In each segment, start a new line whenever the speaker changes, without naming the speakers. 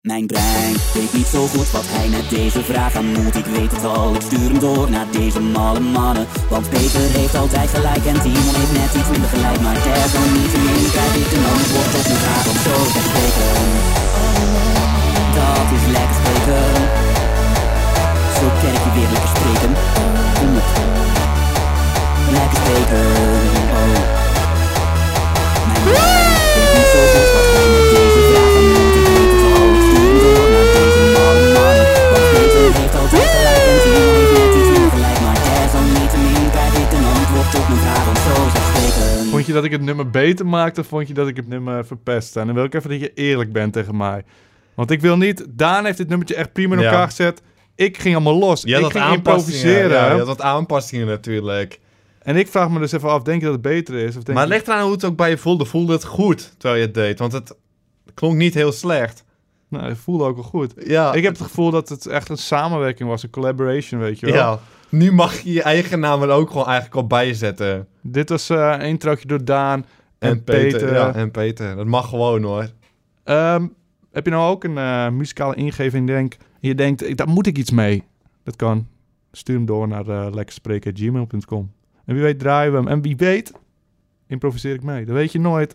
Mijn brein weet niet zo goed wat hij met deze vraag aan moet. Ik weet het al, ik stuur hem door naar deze malle mannen. Want Peter heeft altijd gelijk en Timon heeft net iets minder gelijk. Maar desalniettemin krijg ik een antwoord op mijn vraag om zo te spreken. Dat is lekker spreken. Zo ken ik je weer lekker spreken. Kom op. Lekker spreken. Oh. Mijn brein weet niet zo goed wat hij met deze vraag aan moet. Ik weet het al, ik stuur hem door naar deze malle mannen. Want Peter heeft altijd gelijk en Timon heeft net iets minder gelijk. Maar desalniettemin krijg ik een antwoord op mijn vraag om zo te spreken.
Vond je dat ik het nummer beter maakte of vond je dat ik het nummer verpest? En dan wil ik even dat je eerlijk bent tegen mij. Want ik wil niet... Daan heeft dit nummertje echt prima in
Ja.
elkaar gezet. Ik ging allemaal los.
Je had
ik
wat
ging
aanpassingen.
improviseren.
Ja, je had wat aanpassingen natuurlijk.
En ik vraag me dus even af, denk je dat het beter is? Of denk
maar
je-
leg eraan hoe het ook bij je voelde. Voelde het goed terwijl je het deed? Want het klonk niet heel slecht.
Nou, het voelde ook wel goed.
Ja,
Ik heb het gevoel dat het echt een samenwerking was, een collaboration, weet je wel.
ja. nu mag je je eigen naam er ook gewoon eigenlijk al bij zetten.
Dit was eh, een introotje door Daan en, Peter.
Ja, en Peter. Dat mag gewoon hoor.
Ehm, heb je nou ook een eh, muzikale ingeving? Denk, je denkt, ik- daar moet ik iets mee. Dat kan. Stuur hem door naar eh lekkerspreken.gmail.com. En wie weet draaien we hem. En wie weet improviseer ik mee. Dat weet je nooit.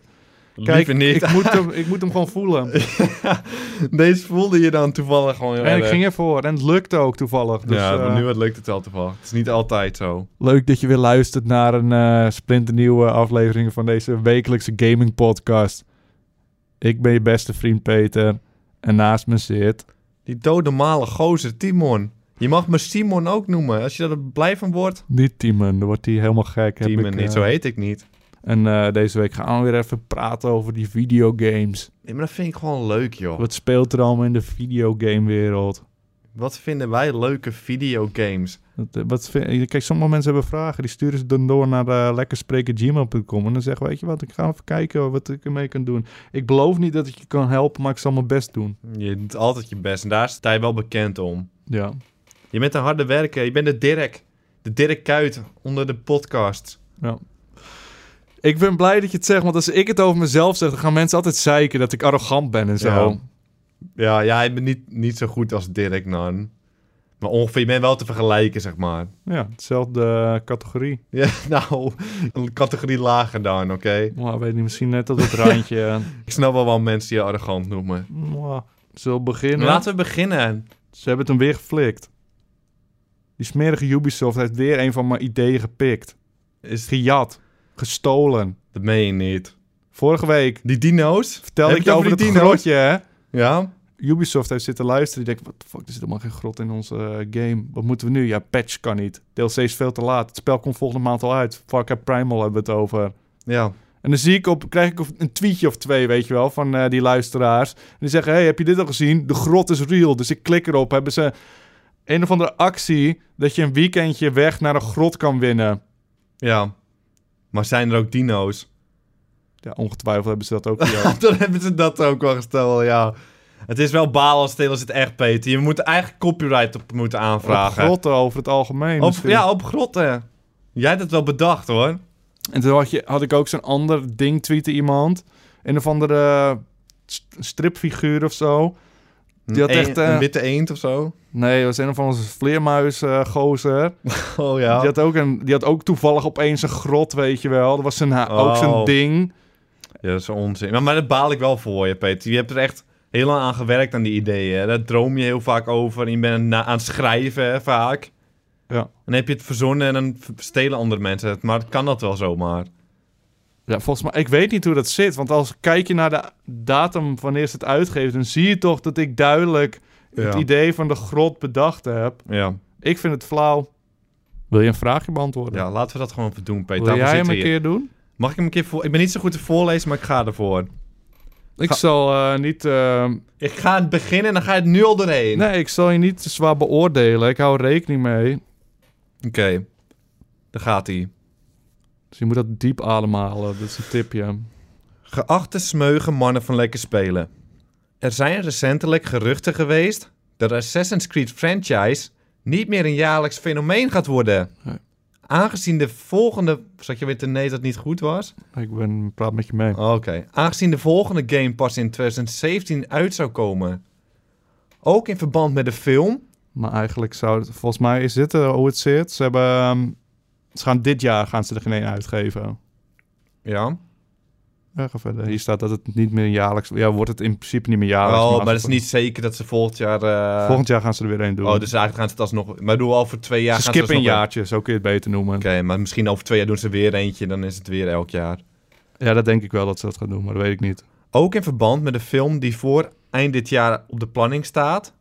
Kijk,
Liever niet.
Ik, moet hem, ik moet hem gewoon voelen.
Deze voelde je dan toevallig gewoon heel
en ik
erg.
ging ervoor. En het lukte ook toevallig. Dus,
ja, maar
eh,
nu het lukt het wel toevallig. Het is niet altijd zo.
Leuk dat je weer luistert naar een eh, splinternieuwe aflevering van deze wekelijkse gaming podcast. Ik ben je beste vriend Peter. En naast me zit...
Die dode male gozer, Timon. Je mag me Simon ook noemen. Als je daar blij van wordt.
Niet Timon, dan wordt hij helemaal gek. Heb
Timon
ik,
niet,
eh,
zo heet ik niet.
En eh, deze week gaan we weer even praten over die videogames.
Nee, maar dat vind ik gewoon leuk, joh.
Wat speelt er allemaal in de videogamewereld?
Wat vinden wij leuke videogames?
Dat, eh, Wat vind- Kijk, sommige mensen hebben vragen. Die sturen ze dan door naar eh lekkerspreken.gmail.com. En dan zeggen we, weet je wat, ik ga even kijken wat ik ermee kan doen. Ik beloof niet dat ik je kan helpen, maar ik zal mijn best doen.
Je doet altijd je best en daar sta je wel bekend om.
Ja.
Je bent een harde werker. Je bent de Dirk. De Dirk Kuit onder de podcast.
Ik ben blij dat je het zegt, want als ik het over mezelf zeg, dan gaan mensen altijd zeiken dat ik arrogant ben en zo.
Ja. Ja, ja ik ben niet, niet zo goed als Dirk, Nan. Maar ongeveer, je bent wel te vergelijken, zeg maar.
Ja, hetzelfde eh, categorie.
Ja, nou, een categorie lager dan, oké?
Maar weet niet, misschien net dat het randje. eh,
Ik snap wel waarom mensen je arrogant noemen.
mwah. Zullen we beginnen?
Laten we beginnen.
Ze hebben het hem weer geflikt. Die smerige Ubisoft heeft weer een van mijn ideeën gepikt.
Is,
Gejat. Gestolen.
dat meen je niet.
Vorige week
Die dino's?
vertelde
Heb
ik
je
je over het
die dino's?
grotje, hè?
Ja?
Ubisoft heeft zitten luisteren. Die denkt, wat de fuck, er zit helemaal geen grot in onze eh, game. Wat moeten we nu? Ja, patch kan niet. DLC is veel te laat. Het spel komt volgende maand al uit. Fuck, hè, Primal hebben we het over.
Ja.
En dan zie ik op, krijg ik een tweetje of twee, weet je wel, van eh, die luisteraars. En die zeggen, hey, heb je dit al gezien? De grot is real. Dus ik klik erop. Hebben ze een of andere actie dat je een weekendje weg naar een grot kan winnen.
Ja. Maar zijn er ook dino's?
Ja, ongetwijfeld hebben ze dat ook voor jou.
Want Dan hebben ze dat ook wel gesteld, ja. Het is wel balen als stil als het echt, Peter. Je moet er eigenlijk copyright op moeten
Op
aanvragen.
grotten over het algemeen.
Op,
misschien.
ja, op grotten. Jij hebt het wel bedacht, hoor.
En toen had, je, had ik ook zo'n ander ding tweeten iemand. Een of andere st- stripfiguur of zo. Die had
Een-
echt, eh,
een witte eend of zo.
Nee, dat was een of andere vleermuis eh, gozer.
Oh ja.
Die, had ook een, die had ook toevallig opeens een grot, weet je wel. Dat was zijn, ha- ook zijn
Oh.
ding.
Ja, dat is onzin. Maar, maar daar baal ik wel voor je, Peter. Je hebt er echt heel lang aan gewerkt aan die ideeën. hè. Daar droom je heel vaak over. En je bent na- aan het schrijven, hè, vaak.
Ja.
En dan heb je het verzonnen en dan v- stelen andere mensen het. Maar kan dat wel zomaar?
Ja, volgens mij, ik weet niet hoe dat zit. Want als kijk je naar de datum wanneer ze het uitgeven, dan zie je toch dat ik duidelijk het
Ja.
idee van de grot bedacht heb.
Ja.
Ik vind het flauw. Wil je een vraagje beantwoorden?
ja, laten we dat gewoon even doen, Peter.
Wil
Daarvoor
jij hem
zitten
een
we hier.
keer doen?
Mag ik hem een keer voor... Ik ben niet zo goed te voorlezen, maar ik ga ervoor.
Ik
Ga-
zal eh, niet. eh,
Ik ga het beginnen en dan ga je het nu al doorheen.
nee, ik zal je niet te zwaar beoordelen. Ik hou er rekening mee.
Oké. Daar gaat hij.
Dus je moet dat diep ademhalen. Dat is een tipje.
Geachte smeugen mannen van Lekker Spelen. Er zijn recentelijk geruchten geweest dat Assassin's Creed franchise niet meer een jaarlijks fenomeen gaat worden.
Nee.
Aangezien de volgende... Zat je weer te nee dat het niet goed was?
Ik ben, praat met je mee.
Oké. Aangezien de volgende game pas in 2017 uit zou komen. Ook in verband met de film.
Maar eigenlijk zou het, volgens mij is dit eh, hoe het zit. Ze hebben, ehm, ze gaan dit jaar gaan ze er geen één uitgeven.
Ja.
Ja, ga verder. Hier staat dat het niet meer jaarlijks, ja, wordt het in principe niet meer jaarlijks.
Oh, maar
ze-
dat is niet zeker dat ze volgend jaar... eh,
Volgend jaar gaan ze er weer één doen.
Oh, dus eigenlijk gaan ze het alsnog... Maar doen al voor twee jaar...
ze
gaan ze
skippen een
alsnog-
jaartje, zo kun je het beter noemen.
Oké, maar misschien over twee jaar doen ze weer eentje. Dan is het weer elk jaar.
Ja, dat denk ik wel dat ze dat gaan doen, maar dat weet ik niet.
Ook in verband met de film die voor eind dit jaar op de planning staat.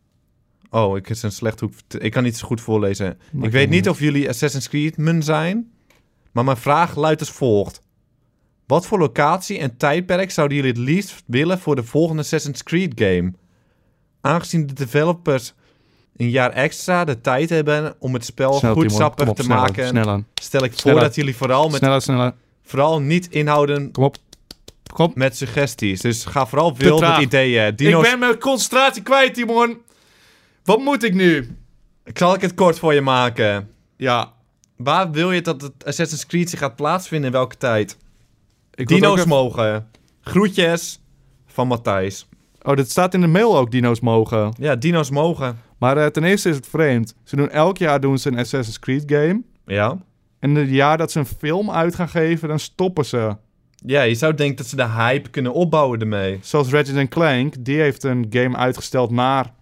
Oh, ik is een slecht hoek. Ik kan niet zo goed voorlezen.
Maar
ik weet
kan-
niet of jullie Assassin's Creed men zijn, maar mijn vraag luidt als volgt. Wat voor locatie en tijdperk zouden jullie het liefst willen voor de volgende Assassin's Creed game? Aangezien de developers een jaar extra de tijd hebben om het spel
Snel,
goed
Timon.
sappig
Kom op,
te
sneller,
maken,
Sneller,
stel ik voor
Sneller.
dat jullie vooral, met,
sneller, sneller.
vooral niet inhouden
Kom op. Kom op.
met suggesties. Dus ga vooral veel met
traag.
ideeën. Dino's, ik,
mijn concentratie kwijt, Timon. Wat moet ik nu?
zal ik het kort voor je maken.
Ja.
Waar wil je dat het Assassin's Creed zich gaat plaatsvinden in welke tijd?
Ik wil
Dino's
ook even-
mogen. Groetjes van Matthijs.
Oh, dat staat in de mail ook, dino's mogen.
Ja, dino's mogen.
Maar eh, ten eerste is het vreemd. Ze doen elk jaar doen ze een Assassin's Creed game.
Ja.
En het jaar dat ze een film uit gaan geven, dan stoppen ze.
Ja, je zou denken dat ze de hype kunnen opbouwen ermee.
Zoals Ratchet Clank, die heeft een game uitgesteld naar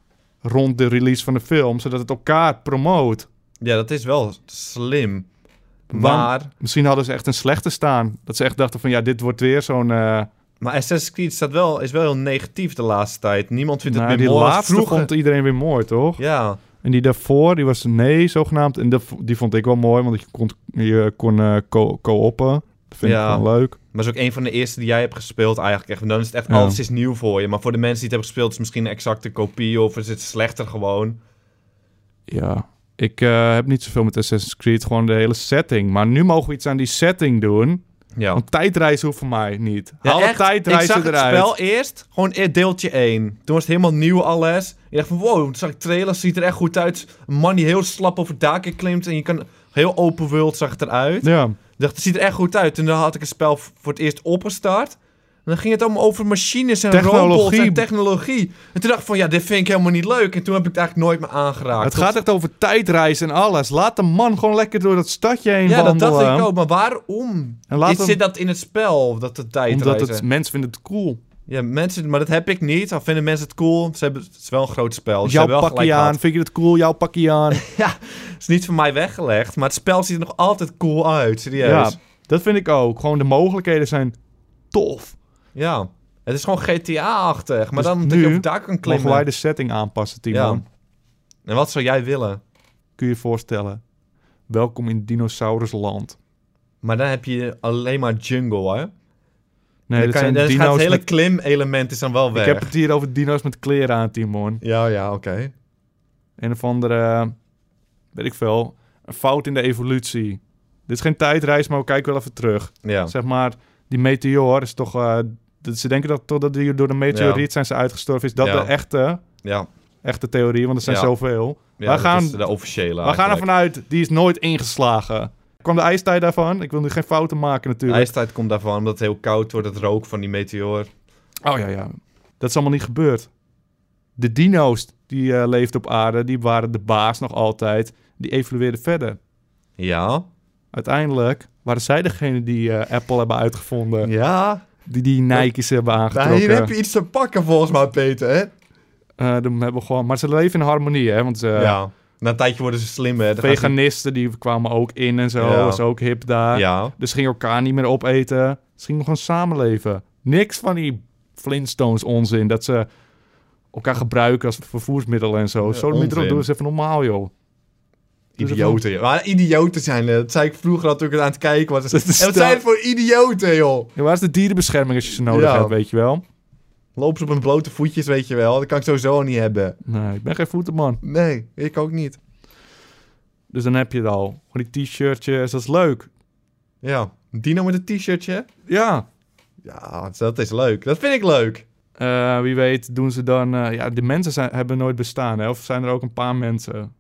rond de release van de film, zodat het elkaar promoot.
Ja, dat is wel slim.
Want-
Maar,
Misschien hadden ze echt een slechte staan. Dat ze echt dachten van, ja, dit wordt weer zo'n... eh
maar Assassin's Creed staat wel, is wel heel negatief de laatste tijd. Niemand vindt
nou,
het meer
die
mooi als
laatste
vroeger.
vond iedereen weer mooi, toch?
Ja,
En die daarvoor, die was nee, zogenaamd. En dat v- die vond ik wel mooi, want je kon, je kon eh, co- co-oppen. Dat vind
Ja.
ik wel leuk.
maar is ook een van de eerste die jij hebt gespeeld eigenlijk. Echt, want dan is het echt,
Ja.
alles is nieuw voor je. Maar voor de mensen die het hebben gespeeld, is het misschien een exacte kopie of is het slechter gewoon.
Ja, ik eh, heb niet zoveel met Assassin's Creed, gewoon de hele setting. Maar nu mogen we iets aan die setting doen.
Ja.
Want tijdreizen hoeft voor mij niet.
Ja,
Haal de
echt.
tijdreizen
Ik zag
eruit.
het spel eerst, gewoon e- deeltje 1. Toen was het helemaal nieuw alles. Ik dacht van wow, toen zag ik trailers, ziet er echt goed uit. Een man die heel slap over daken klimt en je kan... Heel open world zag het eruit. Ik
Ja,
dacht, het ziet er echt goed uit. En dan had ik het spel v- voor het eerst opgestart. En dan ging het allemaal over machines en
Technologie.
robots en technologie. En toen dacht ik van, ja, dit vind ik helemaal niet leuk. En toen heb ik het eigenlijk nooit meer aangeraakt.
het
Tot-
gaat echt over tijdreizen en alles. Laat de man gewoon lekker door dat stadje heen
Ja, dat
wandelen.
dacht ik ook. Maar waarom?
En laat
Is-
hem-
Zit dat in het spel, dat de tijd
Omdat het, mensen vinden het cool. Dus
Ja, mensen, maar dat heb ik niet. Al vinden mensen het cool. Ze hebben, het is wel een groot spel. Dus ze
jouw
hebben wel
pakje
gelijk
aan, vind je het cool? Jouw pakje aan.
gehad. Het is niet van mij weggelegd, maar het spel ziet er nog altijd cool uit.
ja,
Serieus. Ja. dus-
dat vind ik ook. Gewoon de mogelijkheden zijn tof.
Het is gewoon GTA-achtig. Maar
Dus
dan dat je
nu
op daar kan
Mogen wij
klimmen.
de setting aanpassen, Timon?
Ja. En wat zou jij willen?
Kun je je voorstellen? Welkom in dinosaurusland.
Maar dan heb je alleen maar jungle, hè?
Nee,
dan
dat
kan
zijn
je, dan gaat
dino's
het hele
met-
klim-element is dan wel weg.
Ik heb het hier over dino's met kleren aan, Timon.
Ja, ja, oké.
Een of andere, eh, weet ik veel, een fout in de evolutie. Dit is geen tijdreis, maar we kijken wel even terug.
Ja.
Zeg maar, die meteor is toch... eh, dat ze denken dat totdat die door de meteoriet zijn ze uitgestorven. Is dat
Ja.
de echte,
Ja.
echte theorie? Want er zijn
Ja.
zoveel.
ja
we gaan,
dat is de officiële
we gaan
eigenlijk.
ervan uit, die is nooit ingeslagen. Kwam de ijstijd daarvan? Ik wil nu geen fouten maken
De
natuurlijk.
ijstijd komt daarvan, omdat het heel koud wordt, het rook van die meteoor.
Oh ja, ja. Dat is allemaal niet gebeurd. De dino's die eh leefden op aarde, die waren de baas nog altijd. Die evolueerden verder.
Ja.
Uiteindelijk waren zij degene die eh, Apple hebben uitgevonden.
Ja.
Die die Nike's hebben
Nou,
aangetrokken.
hier heb je iets te pakken volgens mij, Peter. Hè?
Eh, dan hebben we gewoon... Maar ze leven in harmonie, hè? Want eh,
ja. Na een tijdje worden ze slim, hè? Dan gaan ze-
veganisten die kwamen ook in en zo.
Ja.
was ook hip daar.
Ja.
Dus ze gingen elkaar niet meer opeten. Ze gingen gewoon samenleven. Niks van die Flintstones onzin. Dat ze elkaar gebruiken als vervoersmiddel en zo.
Ja,
zo middel
onzin.
doen ze even normaal, joh. Doe ze
Idioten. joh. Maar idioten zijn het. Dat zei ik vroeger al toen ik het aan het kijken was.
Dat is
en wat
dat-
zijn het voor idioten, joh?
Ja, waar is de dierenbescherming als je ze nodig
Ja.
hebt, weet je wel?
Lopen ze op hun blote voetjes, weet je wel. Dat kan ik sowieso niet hebben.
Nee, ik ben geen voetenman.
Nee, ik ook niet.
Dus dan heb je het al. Gewoon die t-shirtjes, dat is leuk.
Ja. Dino met een t-shirtje.
Ja.
Ja, dat is leuk. Dat vind ik leuk.
Eh, wie weet doen ze dan... eh, ja, de mensen zijn, hebben nooit bestaan, hè? Of zijn er ook een paar mensen?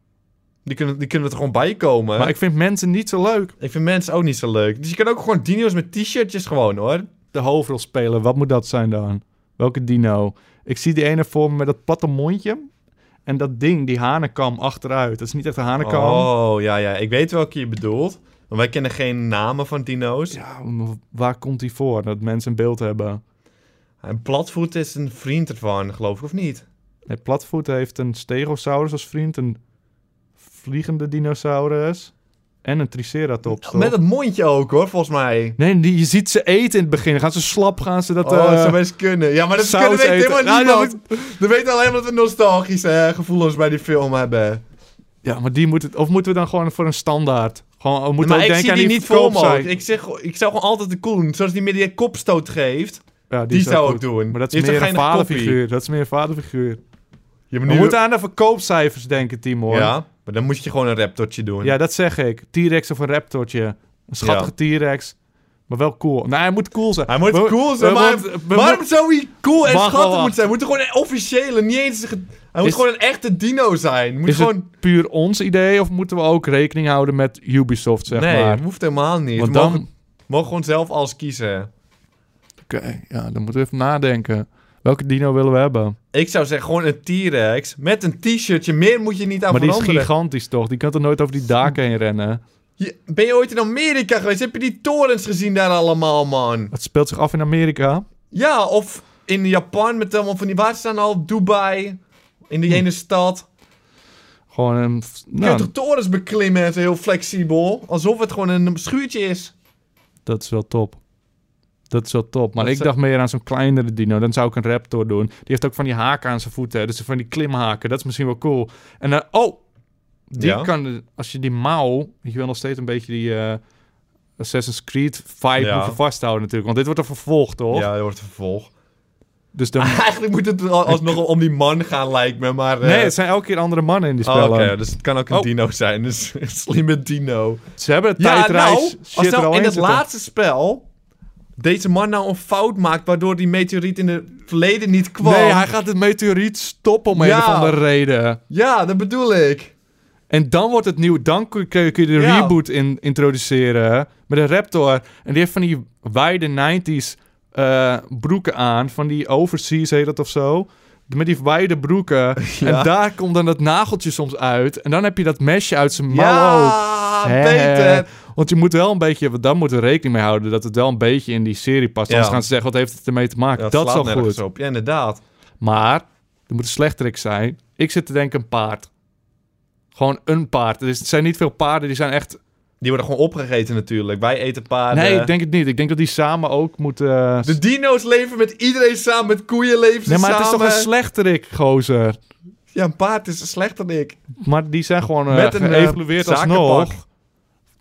Die kunnen, die kunnen er gewoon bij komen.
Maar ik vind mensen niet zo leuk.
ik vind mensen ook niet zo leuk. Dus je kan ook gewoon dino's met t-shirtjes gewoon, hoor.
De hoofdrolspeler, wat moet dat zijn dan? Welke dino? Ik zie die ene voor me met dat platte mondje. En dat ding, die hanenkam achteruit. Dat is niet echt een hanenkam.
Oh, ja, ja. Ik weet welke je bedoelt. Want wij kennen geen namen van dino's.
Ja, maar waar komt die voor? Dat mensen een beeld hebben.
En platvoet is een vriend ervan, geloof ik, of niet?
Nee, platvoet heeft een stegosaurus als vriend, een vliegende dinosaurus en een triceratops. toch?
Met het mondje ook, hoor, volgens mij.
Nee, die, je ziet ze eten in het begin. Dan gaan ze slap, gaan ze dat...
oh, dat
eh,
zou best kunnen. Ja, maar dat
saus
kunnen weet
eten.
helemaal
Ja, dat
niemand. We weten alleen dat we nostalgische eh, gevoelens bij die film hebben.
Ja, maar die moet het... Of moeten we dan gewoon voor een standaard? Gewoon, we moeten
maar
ook
ik
denken
zie
aan
die niet voor me. ook.
verkoopcijfers.
Ik, zeg, ik zou gewoon altijd de Koen, zoals die midden die kopstoot geeft,
Ja,
die,
is ook
zou
goed.
ik doen.
Maar dat
Die
is, meer
toch
een
geen kopie?
vaderfiguur. Dat is meer een vaderfiguur.
Ja, maar
We
nu-
moeten aan de verkoopcijfers denken, Timo.
ja, maar dan moet je gewoon een raptortje doen.
Ja, dat zeg ik. T-Rex of een raptortje. Een schattige T-Rex. Maar wel cool. Nou, hij moet cool zijn.
Hij moet
We-
cool zijn,
we-
maar
want- we-
waarom zou hij cool en
Wacht,
schattig
wacht.
moeten zijn? Moet er gewoon een officiële, niet eens... een ge- Hij moet
Is-
gewoon een echte dino zijn. Moet
Is
gewoon...
het puur ons idee of moeten we ook rekening houden met Ubisoft, zeg
nee,
maar?
hoeft helemaal niet.
Want
We
dan...
mogen, mogen gewoon zelf alles kiezen.
Oké, ja, dan moeten we even nadenken. Welke dino willen we hebben?
Ik zou zeggen gewoon een T-Rex met een t-shirtje. Meer moet je niet aan
maar die is
veranderen.
gigantisch toch? Die kan toch nooit over die daken heen rennen?
Je- ben je ooit in Amerika geweest? Heb je die torens gezien daar allemaal, man?
Dat speelt zich af in Amerika.
Ja, of in Japan met allemaal van die... Waar staan al? Dubai. In die ene stad.
Gewoon een...
Je
Hm. Nou,
kunt toch torens beklimmen en zo heel flexibel. Alsof het gewoon een schuurtje is.
dat is wel top. Dat is wel top. Maar
Dat
ik
zou-
dacht meer aan zo'n kleinere dino. Dan zou ik een raptor doen. Die heeft ook van die haken aan zijn voeten. hè. Dus van die klimhaken. Dat is misschien wel cool. En dan... Oh! Die
Ja.
kan... Als je die mouw... Je wil nog steeds een beetje die... eh, Assassin's Creed 5
Ja.
moeten vasthouden natuurlijk. Want dit wordt een vervolg, toch?
Ja, Ah, dat wordt een vervolg.
Dus dan...
Eigenlijk moet het al- alsnog om die man gaan, lijkt me. Maar, eh,
Nee, het zijn elke keer andere mannen in die
oh,
spellen.
Oké, dus het kan ook een
Oh.
dino zijn. Dus een slimme dino.
Ze hebben de
Ja,
tijdreis
nou,
shit
als
er al
nou in
in
het
zitten.
laatste spel deze man nou een fout maakt... waardoor die meteoriet in het verleden niet kwam.
Nee, hij gaat het meteoriet stoppen om
Ja.
een of andere reden.
Ja, dat bedoel ik.
En dan wordt het nieuw. Dan kun kun je, kun je de
Ja.
reboot in, introduceren. Met een Raptor. En die heeft van die wijde 90s eh, broeken aan. Van die overseas heet dat of zo. Met die wijde broeken. En daar komt dan dat nageltje soms uit. En dan heb je dat mesje uit zijn mouw ook.
Ja,
Hè, hè.
beter.
Want je moet wel een beetje, want daar moeten we rekening mee houden dat het wel een beetje in die serie past.
Ja.
Anders gaan ze zeggen, wat heeft het ermee te maken?
Ja, het
dat is
slaat
al
nergens
goed.
Op. Ja, inderdaad.
Maar, er moet een slechterik zijn. Ik zit te denken een paard. Gewoon een paard. Er is- er zijn niet veel paarden, die zijn echt...
Die worden gewoon opgegeten natuurlijk. Wij eten paarden.
nee, ik denk het niet. Ik denk dat die samen ook moeten... eh,
De dino's leven met iedereen samen, met koeien leven ze
nee, maar
samen.
het is toch een slechterik, gozer.
Ja, een paard is slechter dan ik.
Maar die zijn gewoon eh,
Met een, eh,
geëvalueerd
zakenpak.
alsnog.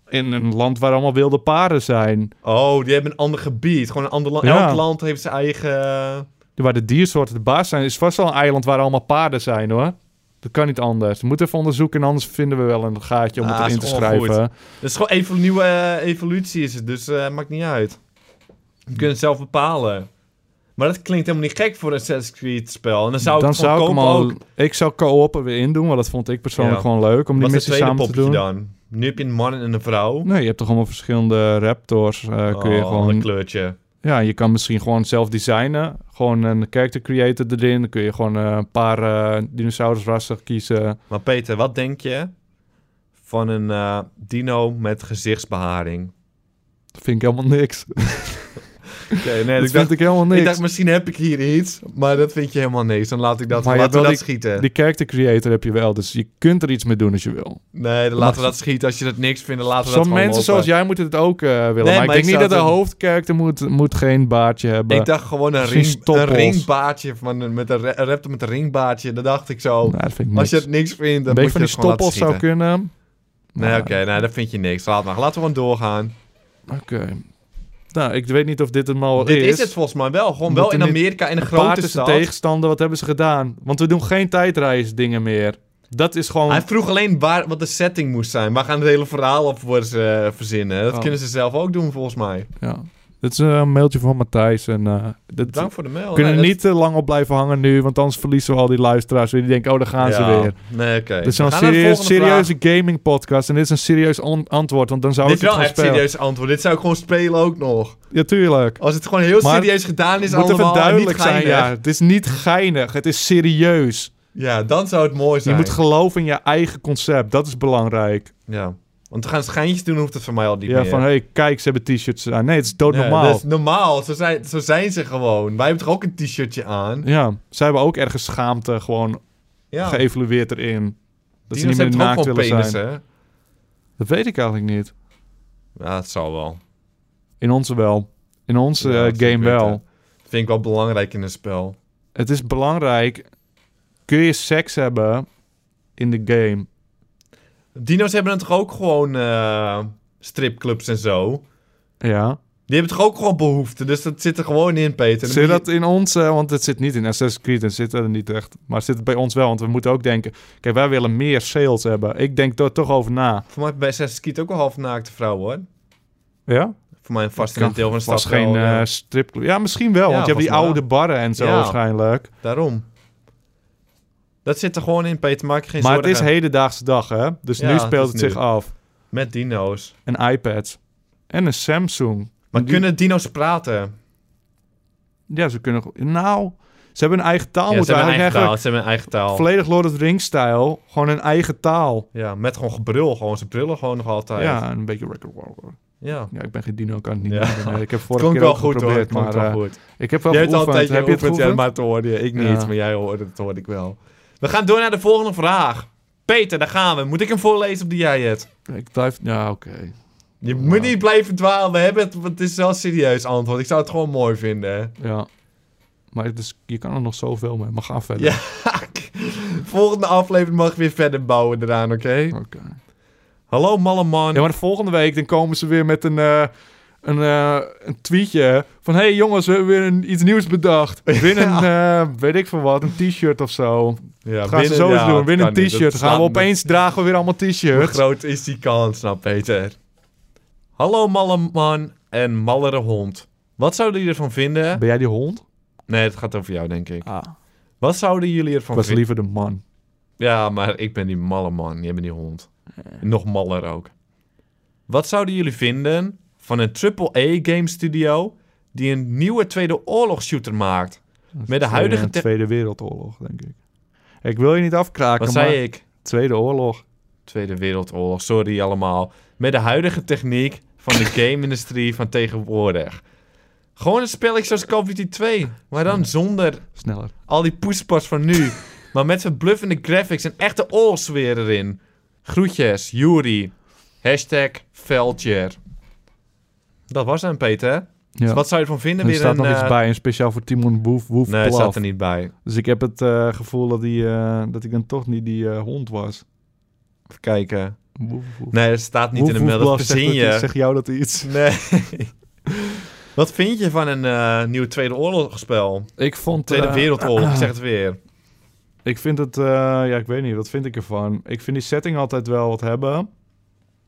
In een land waar allemaal wilde paarden zijn.
Oh, die hebben een ander gebied. Gewoon een ander land.
Ja.
Elk land heeft zijn eigen... eh,
Waar de diersoorten de baas zijn, is vast wel een eiland waar allemaal paarden zijn hoor. Dat kan niet anders. We moeten even onderzoeken, anders vinden we wel een gaatje om
Ah,
het
is
erin te
gewoon
schrijven.
Dat is gewoon even een nieuwe eh, evolutie is het, dus eh, maakt niet uit. Je kunt het zelf bepalen. Maar dat klinkt helemaal niet gek voor een Assassin's Creed spel. En dan zou
dan
ik het gewoon
zou ik hem
kopen
al.
ook.
Ik zou co-op er weer in doen, want dat vond ik persoonlijk
Ja.
gewoon leuk om
Wat
die
is het
missie
tweede
samen te
popje
doen.
dan? Nu heb je een man en een vrouw.
Nee, je hebt toch allemaal verschillende raptors. eh, kun je
Oh, een
gewoon.
kleurtje.
Ja, je kan misschien gewoon zelf designen. Gewoon een character creator erin. Dan kun je gewoon eh, een paar eh, dinosaurusrassen kiezen.
Maar Peter, wat denk je van een eh, dino met gezichtsbeharing?
Dat vind ik helemaal niks.
Oké, nee,
dat
ik
vind
dacht,
ik helemaal niks.
ik dacht, misschien heb ik hier iets, maar dat vind je helemaal niks. Dan laat ik dat,
Maar je
laten we
hebt wel
dat schieten.
Die character creator heb je wel, dus je kunt er iets mee doen als je wil.
Nee, dan
Mag-
laten we dat schieten. Als je dat niks vindt, dan laten we dat
Zo'n
gewoon
mensen
lopen.
zoals jij moeten het ook eh, willen.
Nee,
maar,
maar
ik denk
ik
niet
zou
dat de
het-
hoofdcharacter moet, moet geen baardje hebben.
Ik dacht gewoon een,
Misschien
ring, een
stoppels.
ringbaardje. Van, een- met een, ra- een raptor met een ringbaardje. Dat dacht ik zo.
Nou, dat vind ik niks.
Als je het niks vindt,
een
dan moet je
beetje van
dat
die
gewoon laten
stoppels zou
schieten.
kunnen.
Nee,
Maar,
oké. nee, dat vind je niks. Laat maar. Laten we gewoon doorgaan.
Oké. Nou, ik weet niet of dit het al
Dit
is.
is het volgens mij wel. Gewoon wel
Moet er
in
niet-
Amerika, in een
Het paard
grote
is de
stad.
tegenstander. Wat hebben ze gedaan? Want we doen geen tijdreisdingen meer. Dat is gewoon...
Hij vroeg alleen waar, wat de setting moest zijn. Waar gaan het hele verhaal op worden ze, eh, verzinnen? Dat
Oh.
kunnen ze zelf ook doen, volgens mij.
Ja. Dit is eh, een mailtje van Matthijs. En, eh dat...
Bedankt voor de mail.
We kunnen
Nee,
er
dat-
niet te lang op blijven hangen nu, want anders verliezen we al die luisteraars weer. Die denken, oh, daar gaan ze
Ja.
weer.
Nee, oké.
Dit is
We
een
gaan naar de
serieus,
volgende vraag.
serieuze gaming podcast en dit is een serieus an- antwoord, want dan zou
Dit
ik
is
het
wel
Oh, gewoon
echt
spelen.
serieus antwoord. Dit zou ik gewoon spelen ook nog.
Ja, tuurlijk.
Als het gewoon heel
Maar
serieus gedaan is,
Het moet even
allemaal en niet
duidelijk zijn,
geinig.
ja. Het is niet geinig, het is serieus.
Ja, dan zou het mooi
Je
zijn.
moet geloven in je eigen concept. Dat is belangrijk.
ja. Want te gaan schijntjes doen hoeft het voor mij al niet
ja,
meer.
van oh, hey, kijk, ze hebben t-shirts aan. Nee, het is
Ja,
doodnormaal. Ja,
dat is normaal. Zo zijn, zo zijn ze gewoon. Wij hebben toch ook een t-shirtje aan?
zij hebben ook ergens schaamte gewoon
Ja.
geëvalueerd erin. Dat
Dino's
ze niet meer
hebben toch ook
naakt
gewoon
willen
penissen,
zijn.
hè?
Dat weet ik eigenlijk niet.
Ja, dat zal wel.
In onze wel. In onze
Ja,
eh,
dat
game
vind ik
wel.
weten. Dat vind ik wel belangrijk in een spel.
Het is belangrijk. Kun je seks hebben in de game?
Dino's hebben dan toch ook gewoon eh, stripclubs en zo?
Ja.
Die hebben toch ook gewoon behoefte? Dus dat zit er gewoon in, Peter. Dan
Zit
moet
dat in ons? eh, want het zit niet in Assassin's Creed en zit er niet echt. Maar zit het bij ons wel? Want we moeten ook denken. Kijk, wij willen meer sales hebben. Ik denk er toch over na.
je- Voor mij bij Assassin's Creed ook wel half naakte vrouw, hoor.
Ja?
Voor mij een vast
Kan
deel van de stad.
Was geen
wel, ja.
eh stripclub. Ja, misschien wel.
Ja,
want je hebt die
volgens mij
oude barren en zo
Ja.
waarschijnlijk.
Daarom. Dat zit er gewoon in, Peter. Maak je geen
Maar het
zorgen.
is hedendaagse dag, hè? Dus
Ja,
nu
het
speelt
is
het,
nu.
zich af.
Met dino's.
Een iPad. En een Samsung.
Maar
Die-
kunnen dino's
Oh,
praten?
Ja, ze kunnen... Nou, ze hebben een eigen taal.
ja, ze
moeten
hebben een
eigenlijk eigenlijk
eigen taal. Ze hebben een eigen taal.
volledig Lord of the Rings-stijl. Gewoon een eigen taal.
ja, met gewoon gebrul. Gewoon, ze brullen gewoon nog altijd.
Ja, een beetje record warrior.
ja.
Ja, ik ben geen dino, kan het niet
Ja.
doen. Nee, Ik heb
Het
vorige
klonk
keer
wel
ook
goed hoor, het
geprobeerd,
klonk
maar
wel
eh,
goed.
ik heb wel
Jij hebt al een
geoefend.
tijdje
Heb je het
geoefend, ja,
geoefend?
maar het hoorde je. Ik niet,
Ja.
maar jij hoorde het, hoorde ik wel. We gaan door naar de volgende vraag. Peter, daar gaan we. Moet ik hem voorlezen of die jij het?
Ik blijf... Ja, oké. Ja.
Je moet niet blijven dwalen. We hebben het, want het is wel een serieus antwoord. Ik zou het gewoon mooi vinden.
Ja. Maar het is, je kan er nog zoveel mee. Maar ga verder.
Ja. Volgende aflevering mag ik weer verder bouwen eraan, oké?
Oké.
Hallo, malle man.
Ja, maar de volgende week dan komen ze weer met een, eh, een, eh, een tweetje van... hey jongens, we hebben weer een, iets nieuws bedacht. Win een, eh, weet ik veel wat, een t-shirt of zo.
Ja,
gaan ze
winnen-
zo eens
ja,
doen, win
kan
een
niet. Dat
t-shirt. Gaan
slaat
we
me-
opeens dragen we weer allemaal
Hoe
t-shirts.
groot is die kans nou, Peter? Hallo, malle man en mallere hond. Wat zouden jullie ervan vinden?
Ben jij die hond?
Nee, het gaat over jou, denk ik.
Ah,
Wat zouden jullie ervan
ik was
vinden?
liever de man.
Ja, maar ik ben die malle man. Jij bent die hond. Nog maller ook. Wat zouden jullie vinden van een AAA game studio die een nieuwe Tweede Oorlogsshooter maakt? Met de huidige
Tweede,
te-
Tweede Wereldoorlog, denk ik. Ik wil je niet afkraken,
Wat
maar...
zei ik?
Tweede oorlog.
Tweede Wereldoorlog, sorry allemaal. Met de huidige techniek van de game-industrie van tegenwoordig. Gewoon een spelletje zoals Call of Duty 2, maar dan zonder
Sneller.
al die poespas van nu. maar met verbluffende graphics en echte oorlogsfeer erin. Groetjes, Juri. Hashtag Veldjer. Dat was hem, Peter. Dus
Ja.
wat zou je ervan vinden?
er
Weer
staat
een,
nog iets
eh,
bij, een speciaal voor Timon Boef. Boef
Nee,
Plaf.
staat er niet bij.
Dus ik heb het eh, gevoel dat, die, eh, dat ik dan toch niet die eh, hond was.
Even kijken.
Boef, boef.
Nee, dat staat niet
Boef,
in de
boef,
mail. Dat
Plaf, zeg
verzin
dat-
je.
Zeg jou dat iets.
Nee. wat vind je van een eh, nieuw Tweede Oorlogsspel?
Ik vond...
Tweede
eh,
Wereldoorlog, ik zeg het weer.
Ik vind het... eh, ja, ik weet niet. Wat vind ik ervan? Ik vind die setting altijd wel wat hebben.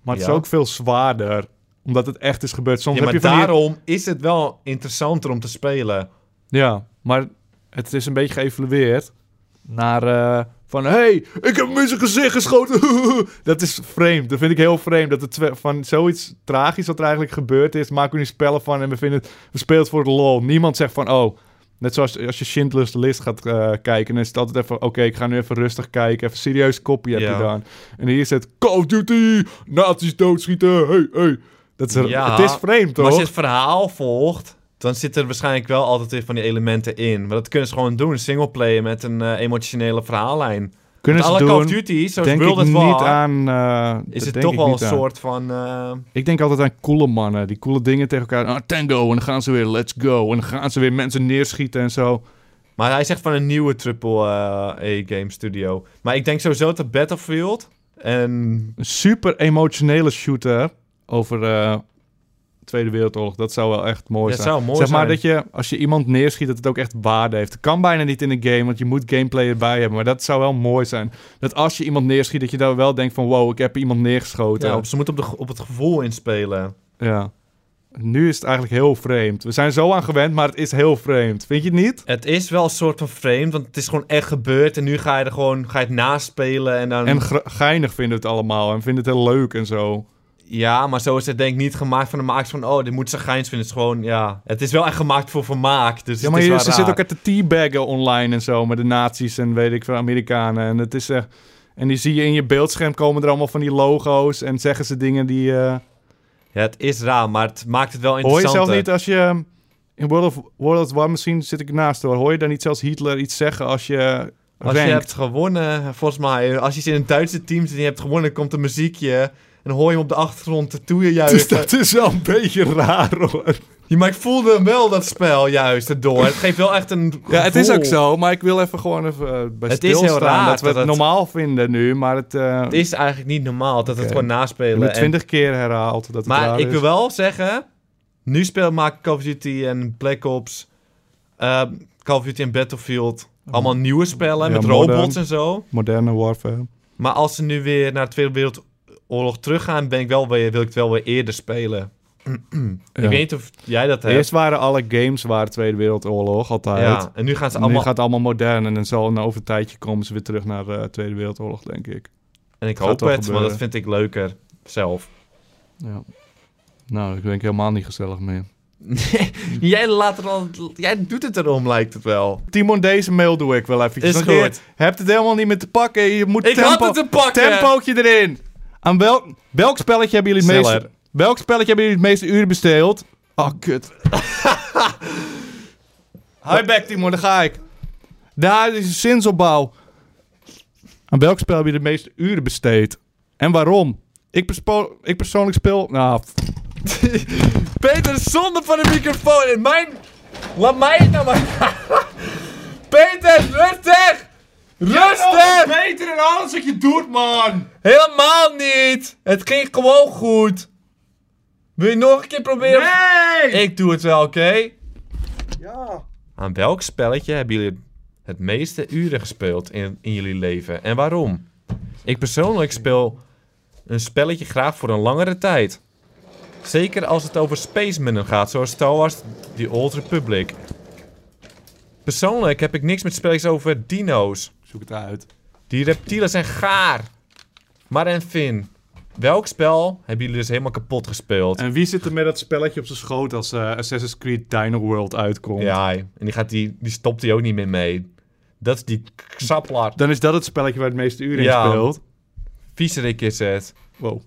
Maar het
Ja.
is ook veel zwaarder. Omdat het echt is gebeurd. Soms
Ja,
heb
maar
je van die-
daarom is het wel interessanter om te spelen.
Ja, maar het is een beetje geëvalueerd naar eh, van... hey, ik heb hem in zijn gezicht geschoten. dat is vreemd. Dat vind ik heel vreemd. Dat het twe- van zoiets tragisch wat er eigenlijk gebeurd is... maken we nu spellen van en we, vinden het, we spelen het voor de lol. Niemand zegt van... oh, net zoals als je Schindler's List gaat eh, kijken... dan is het altijd even... oké, ik ga nu even rustig kijken. Even serieus kopie heb
Ja.
je gedaan. En hier is het... Call of Duty! Nazi's doodschieten! Hey, hey. Dat is, er-
Ja,
het is vreemd,
Maar als
hoor.
je het verhaal volgt, dan zit er waarschijnlijk wel altijd weer van die elementen in. Maar dat kunnen ze gewoon doen, singleplayer met een eh, emotionele verhaallijn.
Kunnen
Met
ze
alle Call of
doen...
Duty, zoals
denk
World
ik
at
niet
War,
aan... eh,
is
dat
het
denk
toch
ik
wel een
niet aan.
soort van... eh,
Ik denk altijd aan coole mannen. Die coole dingen tegen elkaar. Ah, tango. En dan gaan ze weer let's go. En dan gaan ze weer mensen neerschieten en zo.
Maar hij zegt van een nieuwe AAA-game studio. Maar ik denk sowieso dat Battlefield en...
Een super emotionele shooter over eh, de Tweede Wereldoorlog. Dat zou wel echt mooi
Dat
zijn.
zou mooi
zeg maar
zijn.
dat je, als je iemand neerschiet, dat het ook echt waarde heeft. Dat kan bijna niet in een game, want je moet gameplay erbij hebben. Maar dat zou wel mooi zijn. Dat als je iemand neerschiet, dat je daar wel denkt van... Wow, ik heb iemand neergeschoten.
Ja, op- ze moeten op, de, op het gevoel inspelen.
ja. Nu is het eigenlijk heel vreemd. We zijn zo aan gewend, maar het is heel vreemd. Vind je het niet?
Het is wel een soort van vreemd, want het is gewoon echt gebeurd. En nu ga je er gewoon ga je het naspelen en dan...
En gra- geinig vinden we het allemaal en vinden het heel leuk en zo.
Ja, maar zo is het denk ik niet gemaakt van de makers van... Oh, dit moet ze geins vinden. Het is gewoon, ja... Het is wel echt gemaakt voor vermaak, dus
Ja, maar
het
je,
is wel
ze
raar.
zitten ook echt te teabaggen online en zo. Met de nazi's en weet ik veel, Amerikanen. En het is echt... En die zie je in je beeldscherm komen er allemaal van die logo's. En zeggen ze dingen die... eh,
Ja, het is raar, maar het maakt het wel
Hoor je
interessanter.
zelf niet als je... ehm, In World of, World of War misschien zit ik naast hoor. Hoor je dan niet zelfs Hitler iets zeggen als je
Als je
rankt?
hebt gewonnen, volgens mij... Als je zit in een Duitse team zit en je hebt gewonnen, komt een muziekje... En dan hoor je hem op de achtergrond te toeën
Dus
juichen.
dat is wel een beetje raar hoor.
Ja, maar ik voelde hem wel, dat spel, juist, erdoor. Het geeft wel echt een
Ja, het is
gevoel.
ook zo, maar ik wil even gewoon even eh, bij
Het is heel
stilstaan
raar
dat we
dat
het
het-
normaal vinden nu, maar het, eh
Het is eigenlijk niet normaal dat het
Oké.
gewoon
je
naspelen.
wordt
en-
twintig keer herhaald dat het raar
Maar ik
is.
wil wel zeggen, nu speel maken Call of Duty en Black Ops, ehm, Call of Duty en Battlefield, allemaal nieuwe
Oh.
spellen
Ja,
met
modern.
robots en zo.
Moderne warfare.
Maar als ze nu weer naar de Tweede Wereldoorlog teruggaan, ben ik wel weer, wil ik het wel weer eerder spelen.
Ja.
Ik weet niet of jij dat hebt.
Eerst waren alle games waar Tweede Wereldoorlog altijd.
ja, en nu gaan ze
En nu
allemaal.
gaat het allemaal modern en dan zal na over een tijdje komen ze weer terug naar eh Tweede Wereldoorlog, denk ik.
En ik
gaat
hoop
wel
het, want dat
gebeuren.
vind ik leuker zelf.
Ja. Nou, dat ben ik helemaal niet gezellig meer.
Jij, laat het al, jij doet het erom, lijkt het wel.
Timon, deze mail doe ik wel eventjes.
Is
want
goed.
Je hebt het helemaal niet meer te pakken. Je moet
Ik
tempo,
had het te pakken!
Tempootje erin. Aan welk, welk spelletje hebben jullie het meeste...
Sneller.
Welk spelletje hebben jullie het meeste uren besteed? Oh, kut. Hi back, Timon. Daar ga ik. Daar is een zinsopbouw. Aan welk spel heb je de meeste uren besteed? En waarom? Ik, perspo- ik persoonlijk speel... Nou, pff,
Peter, zonder van de microfoon in mijn... Laat mij het nou maar... Peter, rustig! Rustig!
beter in alles wat je doet, man.
Helemaal niet! Het ging gewoon goed. Wil je nog een keer proberen?
Nee!
Ik doe het wel, oké?
Ja.
Aan welk spelletje hebben jullie het meeste uren gespeeld in, in jullie leven? En waarom? Ik persoonlijk speel een spelletje graag voor een langere tijd. Zeker als het over Space Marine gaat, zoals Star Wars The Old Republic. Persoonlijk heb ik niks met spelletjes over dino's.
Zoek het uit.
Die reptielen zijn gaar. Maar en Finn, welk spel hebben jullie dus helemaal kapot gespeeld?
En wie zit er met dat spelletje op zijn schoot als eh, Assassin's Creed Dino World uitkomt?
Ja, en die, gaat die, die stopt hij ook niet meer mee. Dat is die saplaar.
Dan is dat het spelletje waar het meeste uren
Ja.
in speelt.
Vieserik is het.
Wow.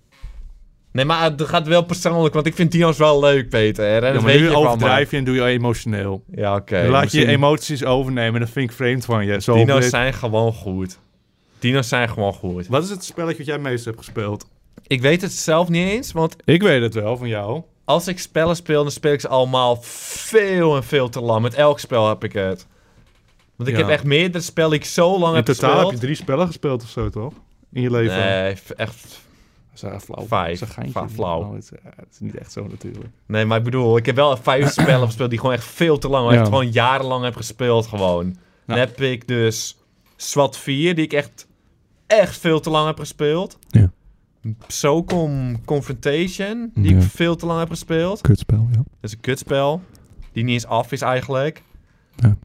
Nee, maar het gaat wel persoonlijk, want ik vind dino's wel leuk, Peter. En dat
Ja, maar
weet
nu
je van mij.
overdrijf je en doe je emotioneel.
Ja, oké.
Dan laat je je
misschien-
emoties overnemen en dat vind ik vreemd van je. Zo
Dino's
dit-
zijn gewoon goed. Dino's zijn gewoon goed.
Wat is het spelletje wat jij het meest hebt gespeeld?
Ik weet het zelf niet eens, want
Ik weet het wel van jou.
als ik spellen speel, dan speel ik ze allemaal veel en veel te lang. Met elk spel heb ik het. Want ik
Ja.
heb echt meerdere spellen die ik zo lang
In
heb
totaal heb je
gespeeld.
drie spellen gespeeld of zo, toch? In je leven.
Nee, f- echt.
Dat is echt flauw.
Vijf.
Dat is een
Va-
geintje.
flauw.
Nou, het, is, eh, het is niet echt zo natuurlijk.
Nee, maar ik bedoel, ik heb wel vijf spellen gespeeld die gewoon echt veel te lang,
Ja.
echt gewoon jarenlang heb gespeeld gewoon. Dan heb ik dus SWAT 4, die ik echt, echt veel te lang heb gespeeld.
Ja.
Socom Confrontation, die
Ja.
ik veel te lang heb gespeeld.
Kutspel, ja.
Dat is een kutspel. Die niet eens af is eigenlijk.
Ja.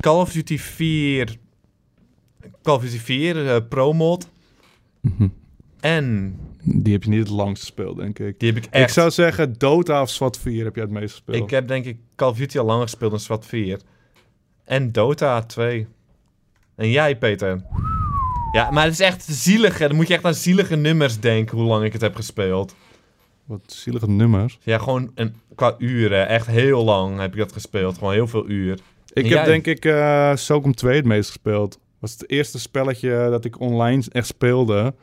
Call of Duty 4. Call of Duty 4, eh, Pro-mod. En
Die heb je niet het langst gespeeld, denk ik.
die heb ik echt...
Ik zou zeggen, Dota of SWAT 4 heb jij het meest gespeeld.
Ik heb denk ik Call of Duty al langer gespeeld dan SWAT 4. En Dota 2. En jij, Peter? Ja, maar het is echt zielig. hè. Dan moet je echt aan zielige nummers denken hoe lang ik het heb gespeeld.
Wat zielige nummers.
Ja, gewoon een, qua uren. Echt heel lang heb ik dat gespeeld. Gewoon heel veel uur.
Ik
En
heb
jij?
denk ik eh Socom 2 het meest gespeeld. was het eerste spelletje dat ik online echt speelde.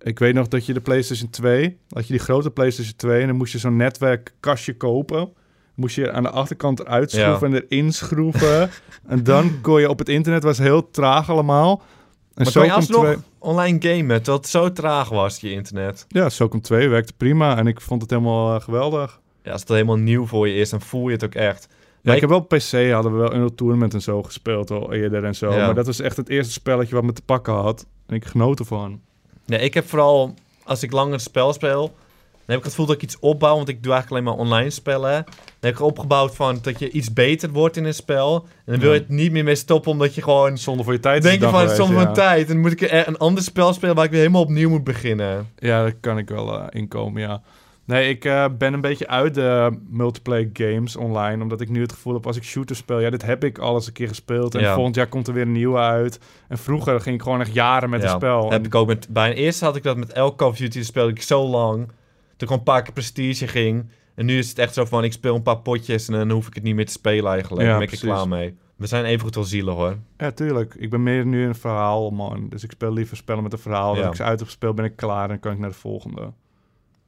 Ik weet nog dat je de PlayStation 2, had je die grote PlayStation 2 en dan moest je zo'n netwerkkastje kopen. Moest je aan de achterkant uitschroeven en erin schroeven. en dan kon je op het internet, was heel traag allemaal. En
maar kon je
Socom
alsnog
2
online gamen, dat het zo traag was, je internet.
Ja, Socom 2 werkte prima en ik vond het helemaal eh, geweldig.
Ja, als het helemaal nieuw voor je is, dan voel je het ook echt.
Ja,
Maar
ik heb wel op PC, hadden we wel Unreal Tournament en zo gespeeld al eerder en zo.
Ja.
Maar dat was echt het eerste spelletje wat me te pakken had. En ik genoot ervan.
Nee, ik heb vooral, als ik langer een spel speel, dan heb ik het gevoel dat ik iets opbouw, want ik doe eigenlijk alleen maar online spellen. Dan heb ik opgebouwd van dat je iets beter wordt in een spel. En dan wil je het niet meer mee stoppen, omdat je gewoon...
Zonder voor je tijd. is
Denk je
het dan
van,
geweest,
soms
ja.
van tijd, en dan moet ik er een ander spel spelen waar ik weer helemaal opnieuw moet beginnen.
Ja, daar kan ik wel eh, inkomen, ja. Nee, ik eh, ben een beetje uit de multiplayer games online. Omdat ik nu het gevoel heb, als ik shooters speel... Ja, dit heb ik al eens een keer gespeeld. En
Ja.
volgend jaar komt er weer een nieuwe uit. En vroeger ging ik gewoon echt jaren met
Ja,
een spel.
Heb
En-
ik ook met, bij een eerste had ik dat met elk Call of Duty, dat speelde ik zo lang. Toen kwam een paar keer prestige ging. En nu is het echt zo van, ik speel een paar potjes en dan hoef ik het niet meer te spelen eigenlijk.
Ja,
dan ben ik er
precies.
klaar mee. We zijn evengoed wel zielig hoor.
Ja, tuurlijk. Ik ben meer nu een verhaal, man. Dus ik speel liever spellen met een verhaal.
Ja.
Als ik ze uit heb gespeeld, ben ik klaar. En dan kan ik naar de volgende.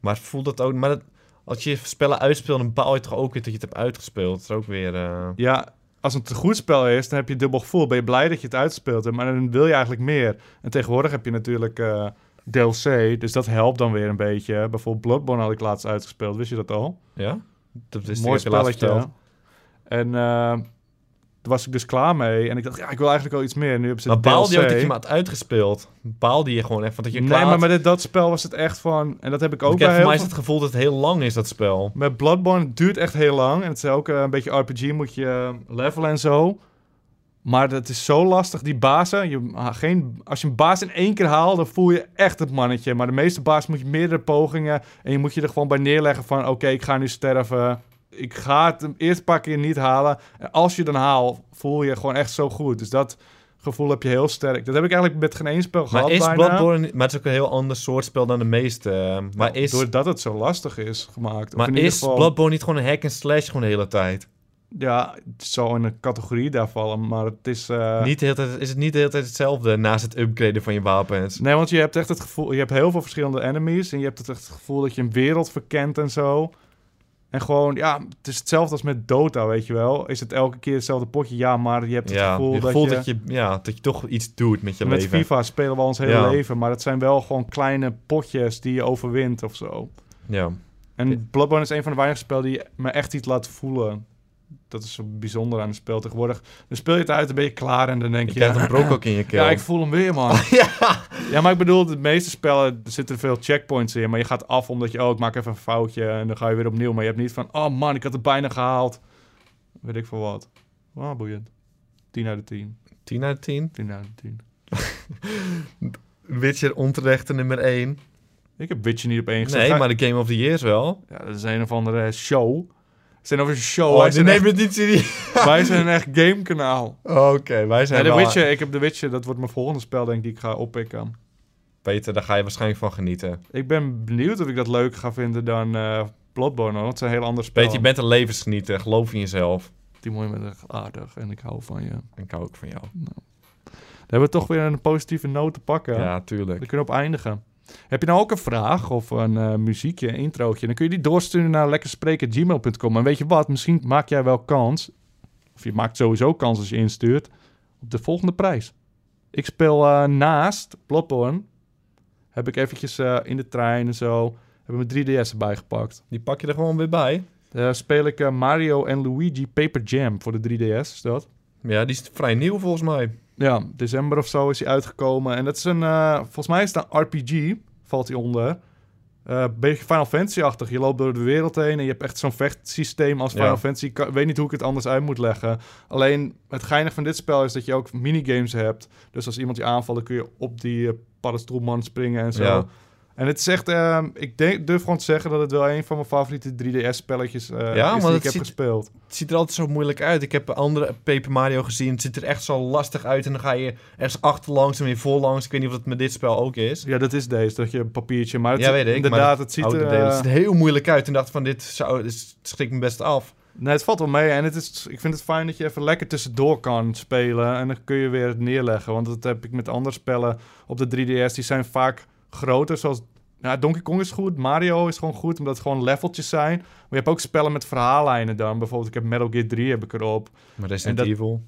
Maar voelt dat ook... Maar dat, als je spellen uitspeelt, dan baal je toch ook weer dat je het hebt uitgespeeld. Dat is ook weer... eh,
Ja, als het een goed spel is, dan heb je dubbel gevoel. Ben je blij dat je het uitspeelt. Maar dan wil je eigenlijk meer. En tegenwoordig heb je natuurlijk eh, DLC. Dus dat helpt dan weer een beetje. Bijvoorbeeld Bloodborne had ik laatst uitgespeeld. Wist je dat al?
Ja? Dat is
Mooi
ik Dus heb je laatst
spelletje.
verteld.
hè? En eh, toen was ik dus klaar mee. En ik dacht, ja, ik wil eigenlijk wel iets meer. Nu hebben ze
Maar
DLC.
baalde je ook dat je hem had uitgespeeld? Baalde je gewoon echt van dat je klaar
Nee, maar
had-
met dit- dat spel was het echt van... En dat heb ik
Want
ook
ik
bij
heb voor
heel
mij is
veel-
het gevoel dat het heel lang is, dat spel.
Met Bloodborne het duurt echt heel lang. En het is ook eh, een beetje RPG, moet je eh, levelen en zo. Maar dat is zo lastig, die bazen. Je, ah, geen, als je een baas in één keer haalt, dan voel je echt het mannetje. Maar de meeste baas moet je meerdere pogingen... en je moet je er gewoon bij neerleggen van... oké, ik ga nu sterven. Ik ga het hem eerst een paar keer niet halen. En als je dan haalt, voel je gewoon echt zo goed. Dus dat gevoel heb je heel sterk. Dat heb ik eigenlijk met geen één spel
Maar
gehad
is
bijna.
Bloodborne... Maar het is ook een heel ander soort spel dan de meeste. eh, Maar is,
Nou, Doordat het zo lastig is gemaakt. Of
maar
in ieder
is
geval-
Bloodborne niet gewoon een hack and slash gewoon de hele tijd?
Ja, het zou in een categorie daar vallen, maar het is... eh,
Niet de hele tijd, is het niet de hele tijd hetzelfde naast het upgraden van je wapens?
Nee, want je hebt echt het gevoel... Je hebt heel veel verschillende enemies en je hebt het echt het gevoel dat je een wereld verkent en zo. En gewoon, ja, het is hetzelfde als met Dota, weet je wel. Is het elke keer hetzelfde potje? Ja, maar je hebt het
ja,
gevoel,
je
dat,
voelt
je...
dat je, ja, dat je toch iets doet met je
Met
leven.
FIFA spelen we ons hele
Ja.
leven, maar het zijn wel gewoon kleine potjes die je overwint of zo.
Ja. Ja.
En Bloodborne is een van de weinige spellen die me echt iets laat voelen. Dat is zo bijzonder aan het spel tegenwoordig. Dan speel je het uit, een beetje klaar en dan denk
Je
je...
krijgt een brok ook in je keel.
Ja, ik voel hem weer, man. ja. maar ik bedoel, de meeste spellen er zitten veel checkpoints in. Maar je gaat af omdat je, oh, ik maak even een foutje. En dan ga je weer opnieuw. Maar je hebt niet van, oh man, ik had het bijna gehaald. Weet ik veel wat. Ah, boeiend. 10 uit de 10.
10 uit 10.
10 uit de 10.
Witcher onterechte nummer 1.
Ik heb Witcher niet op één gezet.
Nee,
Ga-
maar de Game of the Year is wel.
Ja, dat is een of andere show. Het zijn of een show.
Oh,
wij,
die
zijn echt,
neemt het niet serieus.
wij zijn een echt gamekanaal.
Oké, wij
Ja,
zijn
de
wel...
Witcher, ik heb de Witcher. Dat wordt mijn volgende spel, denk ik, die ik ga oppikken.
Peter, daar ga je waarschijnlijk van genieten.
Ik ben benieuwd of ik dat leuker ga vinden dan eh Bloodborne. hoor, Want het zijn heel andere spel.
Peter, je bent een levensgenieter. Geloof in jezelf.
Timo, je bent echt aardig en ik hou van je. Dan
Ik hou ook van jou.
hebben we toch weer een positieve noot te pakken.
Ja,
We
tuurlijk.
kunnen op eindigen. Heb je nou ook een vraag of een eh, muziekje, een introotje? Dan kun je die doorsturen naar lekkerspreken.gmail.com. En weet je wat, misschien maak jij wel kans. Of je maakt sowieso kans als je instuurt. Op de volgende prijs. Ik speel eh, naast Bloodborne. Heb ik eventjes eh, in de trein en zo. Heb ik mijn 3DS erbij gepakt.
Die pak je er gewoon weer bij.
Daar speel ik eh, Mario en Luigi Paper Jam voor de 3DS. Is dat?
Ja, die is vrij nieuw volgens mij.
Ja, december of zo is hij uitgekomen. En dat is een, eh, volgens mij is het een RPG, valt hij onder. Eh beetje Final Fantasy-achtig. Je loopt door de wereld heen en je hebt echt zo'n vechtsysteem als
Ja.
Final Fantasy. Ik kan- weet niet hoe ik het anders uit moet leggen. Alleen het geinig van dit spel is dat je ook minigames hebt. Dus als iemand je aanvalt, dan kun je op die eh, paddenstoelman springen en zo.
Ja.
En het is echt, eh, ik denk, durf gewoon te zeggen dat het wel een van mijn favoriete 3DS-spelletjes eh
Ja,
is
maar
die
dat
ik heb
ziet-
gespeeld.
Het ziet er altijd zo moeilijk uit. Ik heb andere Paper Mario gezien. Het ziet er echt zo lastig uit. En dan ga je ergens achterlangs en weer voorlangs. Ik weet niet of dat met dit spel ook is.
Ja, dat is deze, dat je een papiertje... Maar het,
ja, weet ik. maar
Inderdaad, het ziet
oude
er...
delen,
eh,
Het ziet er heel moeilijk uit. En dacht van, dit, zou, dit schrikt me best af.
Nee, het valt wel mee. En het is, ik vind het fijn dat je even lekker tussendoor kan spelen. En dan kun je weer het neerleggen. Want dat heb ik met andere spellen op de 3DS. Die zijn vaak groter. Zoals ja, Donkey Kong is goed. Mario is gewoon goed. Omdat het gewoon leveltjes zijn. Maar je hebt ook spellen met verhaallijnen dan. Bijvoorbeeld, ik heb Metal Gear 3 heb ik erop.
Maar
En
Resident
dat-
Evil.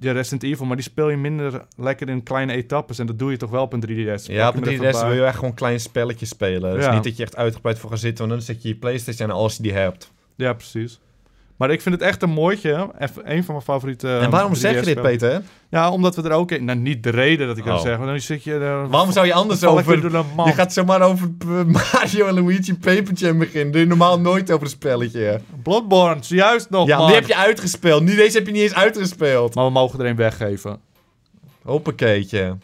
Ja, Resident Evil. Maar die speel je minder lekker in kleine etappes. En dat doe je toch wel op een 3DS.
Ja, op
Pak hem
de
er
3DS
even bij.
wil je echt gewoon kleine spelletjes spelen. Dus
Ja.
niet dat je echt uitgebreid voor gaat zitten. Want dan zet je je Playstation aan als je die hebt.
Ja, precies. Maar ik vind het echt een mooitje. Even een van mijn favoriete
en waarom zeg je
3DS
dit,
spellen.
Peter?
Ja, omdat we er ook... in- Nou, niet de reden dat ik dat
Oh.
zeg. Want dan zit je... eh,
Waarom zou je anders
val ik weer
over...
door de mand.
Je gaat zomaar over eh, Mario en Luigi Paper Jam beginnen. Doe je normaal nooit over een spelletje.
Bloodborne, zojuist nog,
ja,
man.
die heb je uitgespeeld. Nu, deze heb je niet eens uitgespeeld.
Maar we mogen er een weggeven.
Hoppakeetje.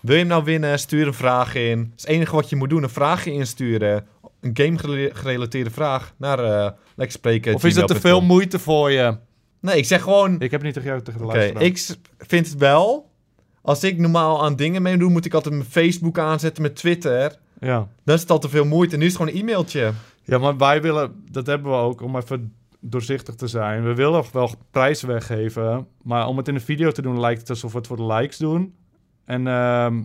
Wil je hem nou winnen? Stuur een vraag in. Dat is het enige wat je moet doen. Een vraagje insturen. een game-gerelateerde vraag naar eh Lex Spreken.
Of is dat te veel moeite voor je?
Nee, ik zeg gewoon...
Ik nou. heb niet tegen jou tegen de
Oké,
luisteraar.
ik s- vind het wel... Als ik normaal aan dingen meedoe, moet ik altijd mijn Facebook aanzetten, mijn Twitter.
Ja.
Dan is het al te veel moeite. Nu is het gewoon een e-mailtje.
ja, maar wij willen... Dat hebben we ook, om even doorzichtig te zijn. We willen wel prijs weggeven. Maar om het in een video te doen, lijkt het alsof we het voor de likes doen. En ehm,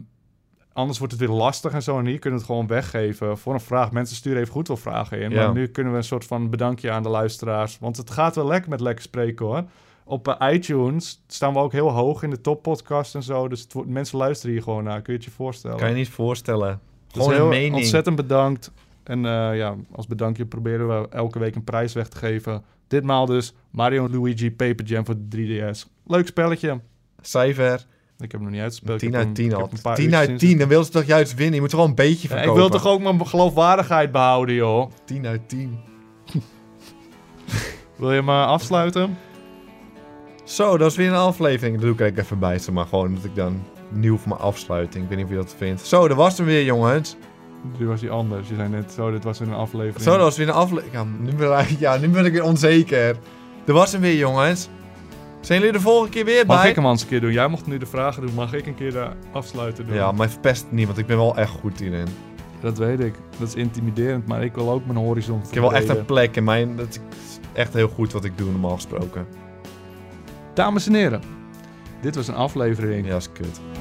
anders wordt het weer lastig en zo. En hier kunnen we het gewoon weggeven voor een vraag. Mensen sturen even goed wel vragen in.
Ja.
Maar nu kunnen we een soort van bedankje aan de luisteraars. Want het gaat wel lekker met lekker spreken, hoor. Op eh, iTunes staan we ook heel hoog in de toppodcast en zo. Dus het wordt- mensen luisteren hier gewoon naar. Kun je het je voorstellen?
Kan je niet voorstellen.
Dus
Gewoon een
heel
mening.
Ontzettend bedankt. En eh, ja, als bedankje proberen we elke week een prijs weg te geven. Ditmaal dus Mario Luigi Paper Jam voor de 3DS. Leuk spelletje.
Cijfer.
Ik heb hem nog niet uitgespeeld.
10
Ik heb hem-
uit 10
ik heb
al.
een paar
10
uurtjes
uit
in
10. Dan wil ze toch juist winnen. Je moet er wel een beetje
zitten.
van
Ja, ik wil toch ook mijn geloofwaardigheid behouden, joh.
10 uit 10.
Wil je me afsluiten?
Zo, dat is weer een aflevering. Dat doe ik er even bij. zeg Maar gewoon dat ik dan nieuw voor mijn afsluiting. Ik weet niet of je dat vindt. Zo, dat was hem weer, jongens.
Nu was hij anders. Je zei net, zo, dit was een aflevering.
Zo, dat was weer een aflevering. Ja, nu ben ik- ja, nu ben ik weer onzeker. Dat was hem weer, jongens. Zijn jullie de volgende keer weer
Mag
bij?
ik hem eens een keer doen? Jij mocht nu de vragen doen. Mag ik een keer de afsluiten doen?
Ja, maar verpest niet, want ik ben wel echt goed hierin.
Dat weet ik. Dat is intimiderend, maar ik wil ook mijn horizon
Ik heb wel echt
verbreden.
een plek in mijn... Dat is echt heel goed wat ik doe, normaal gesproken.
Dames en heren, dit was een aflevering.
Ja, is kut.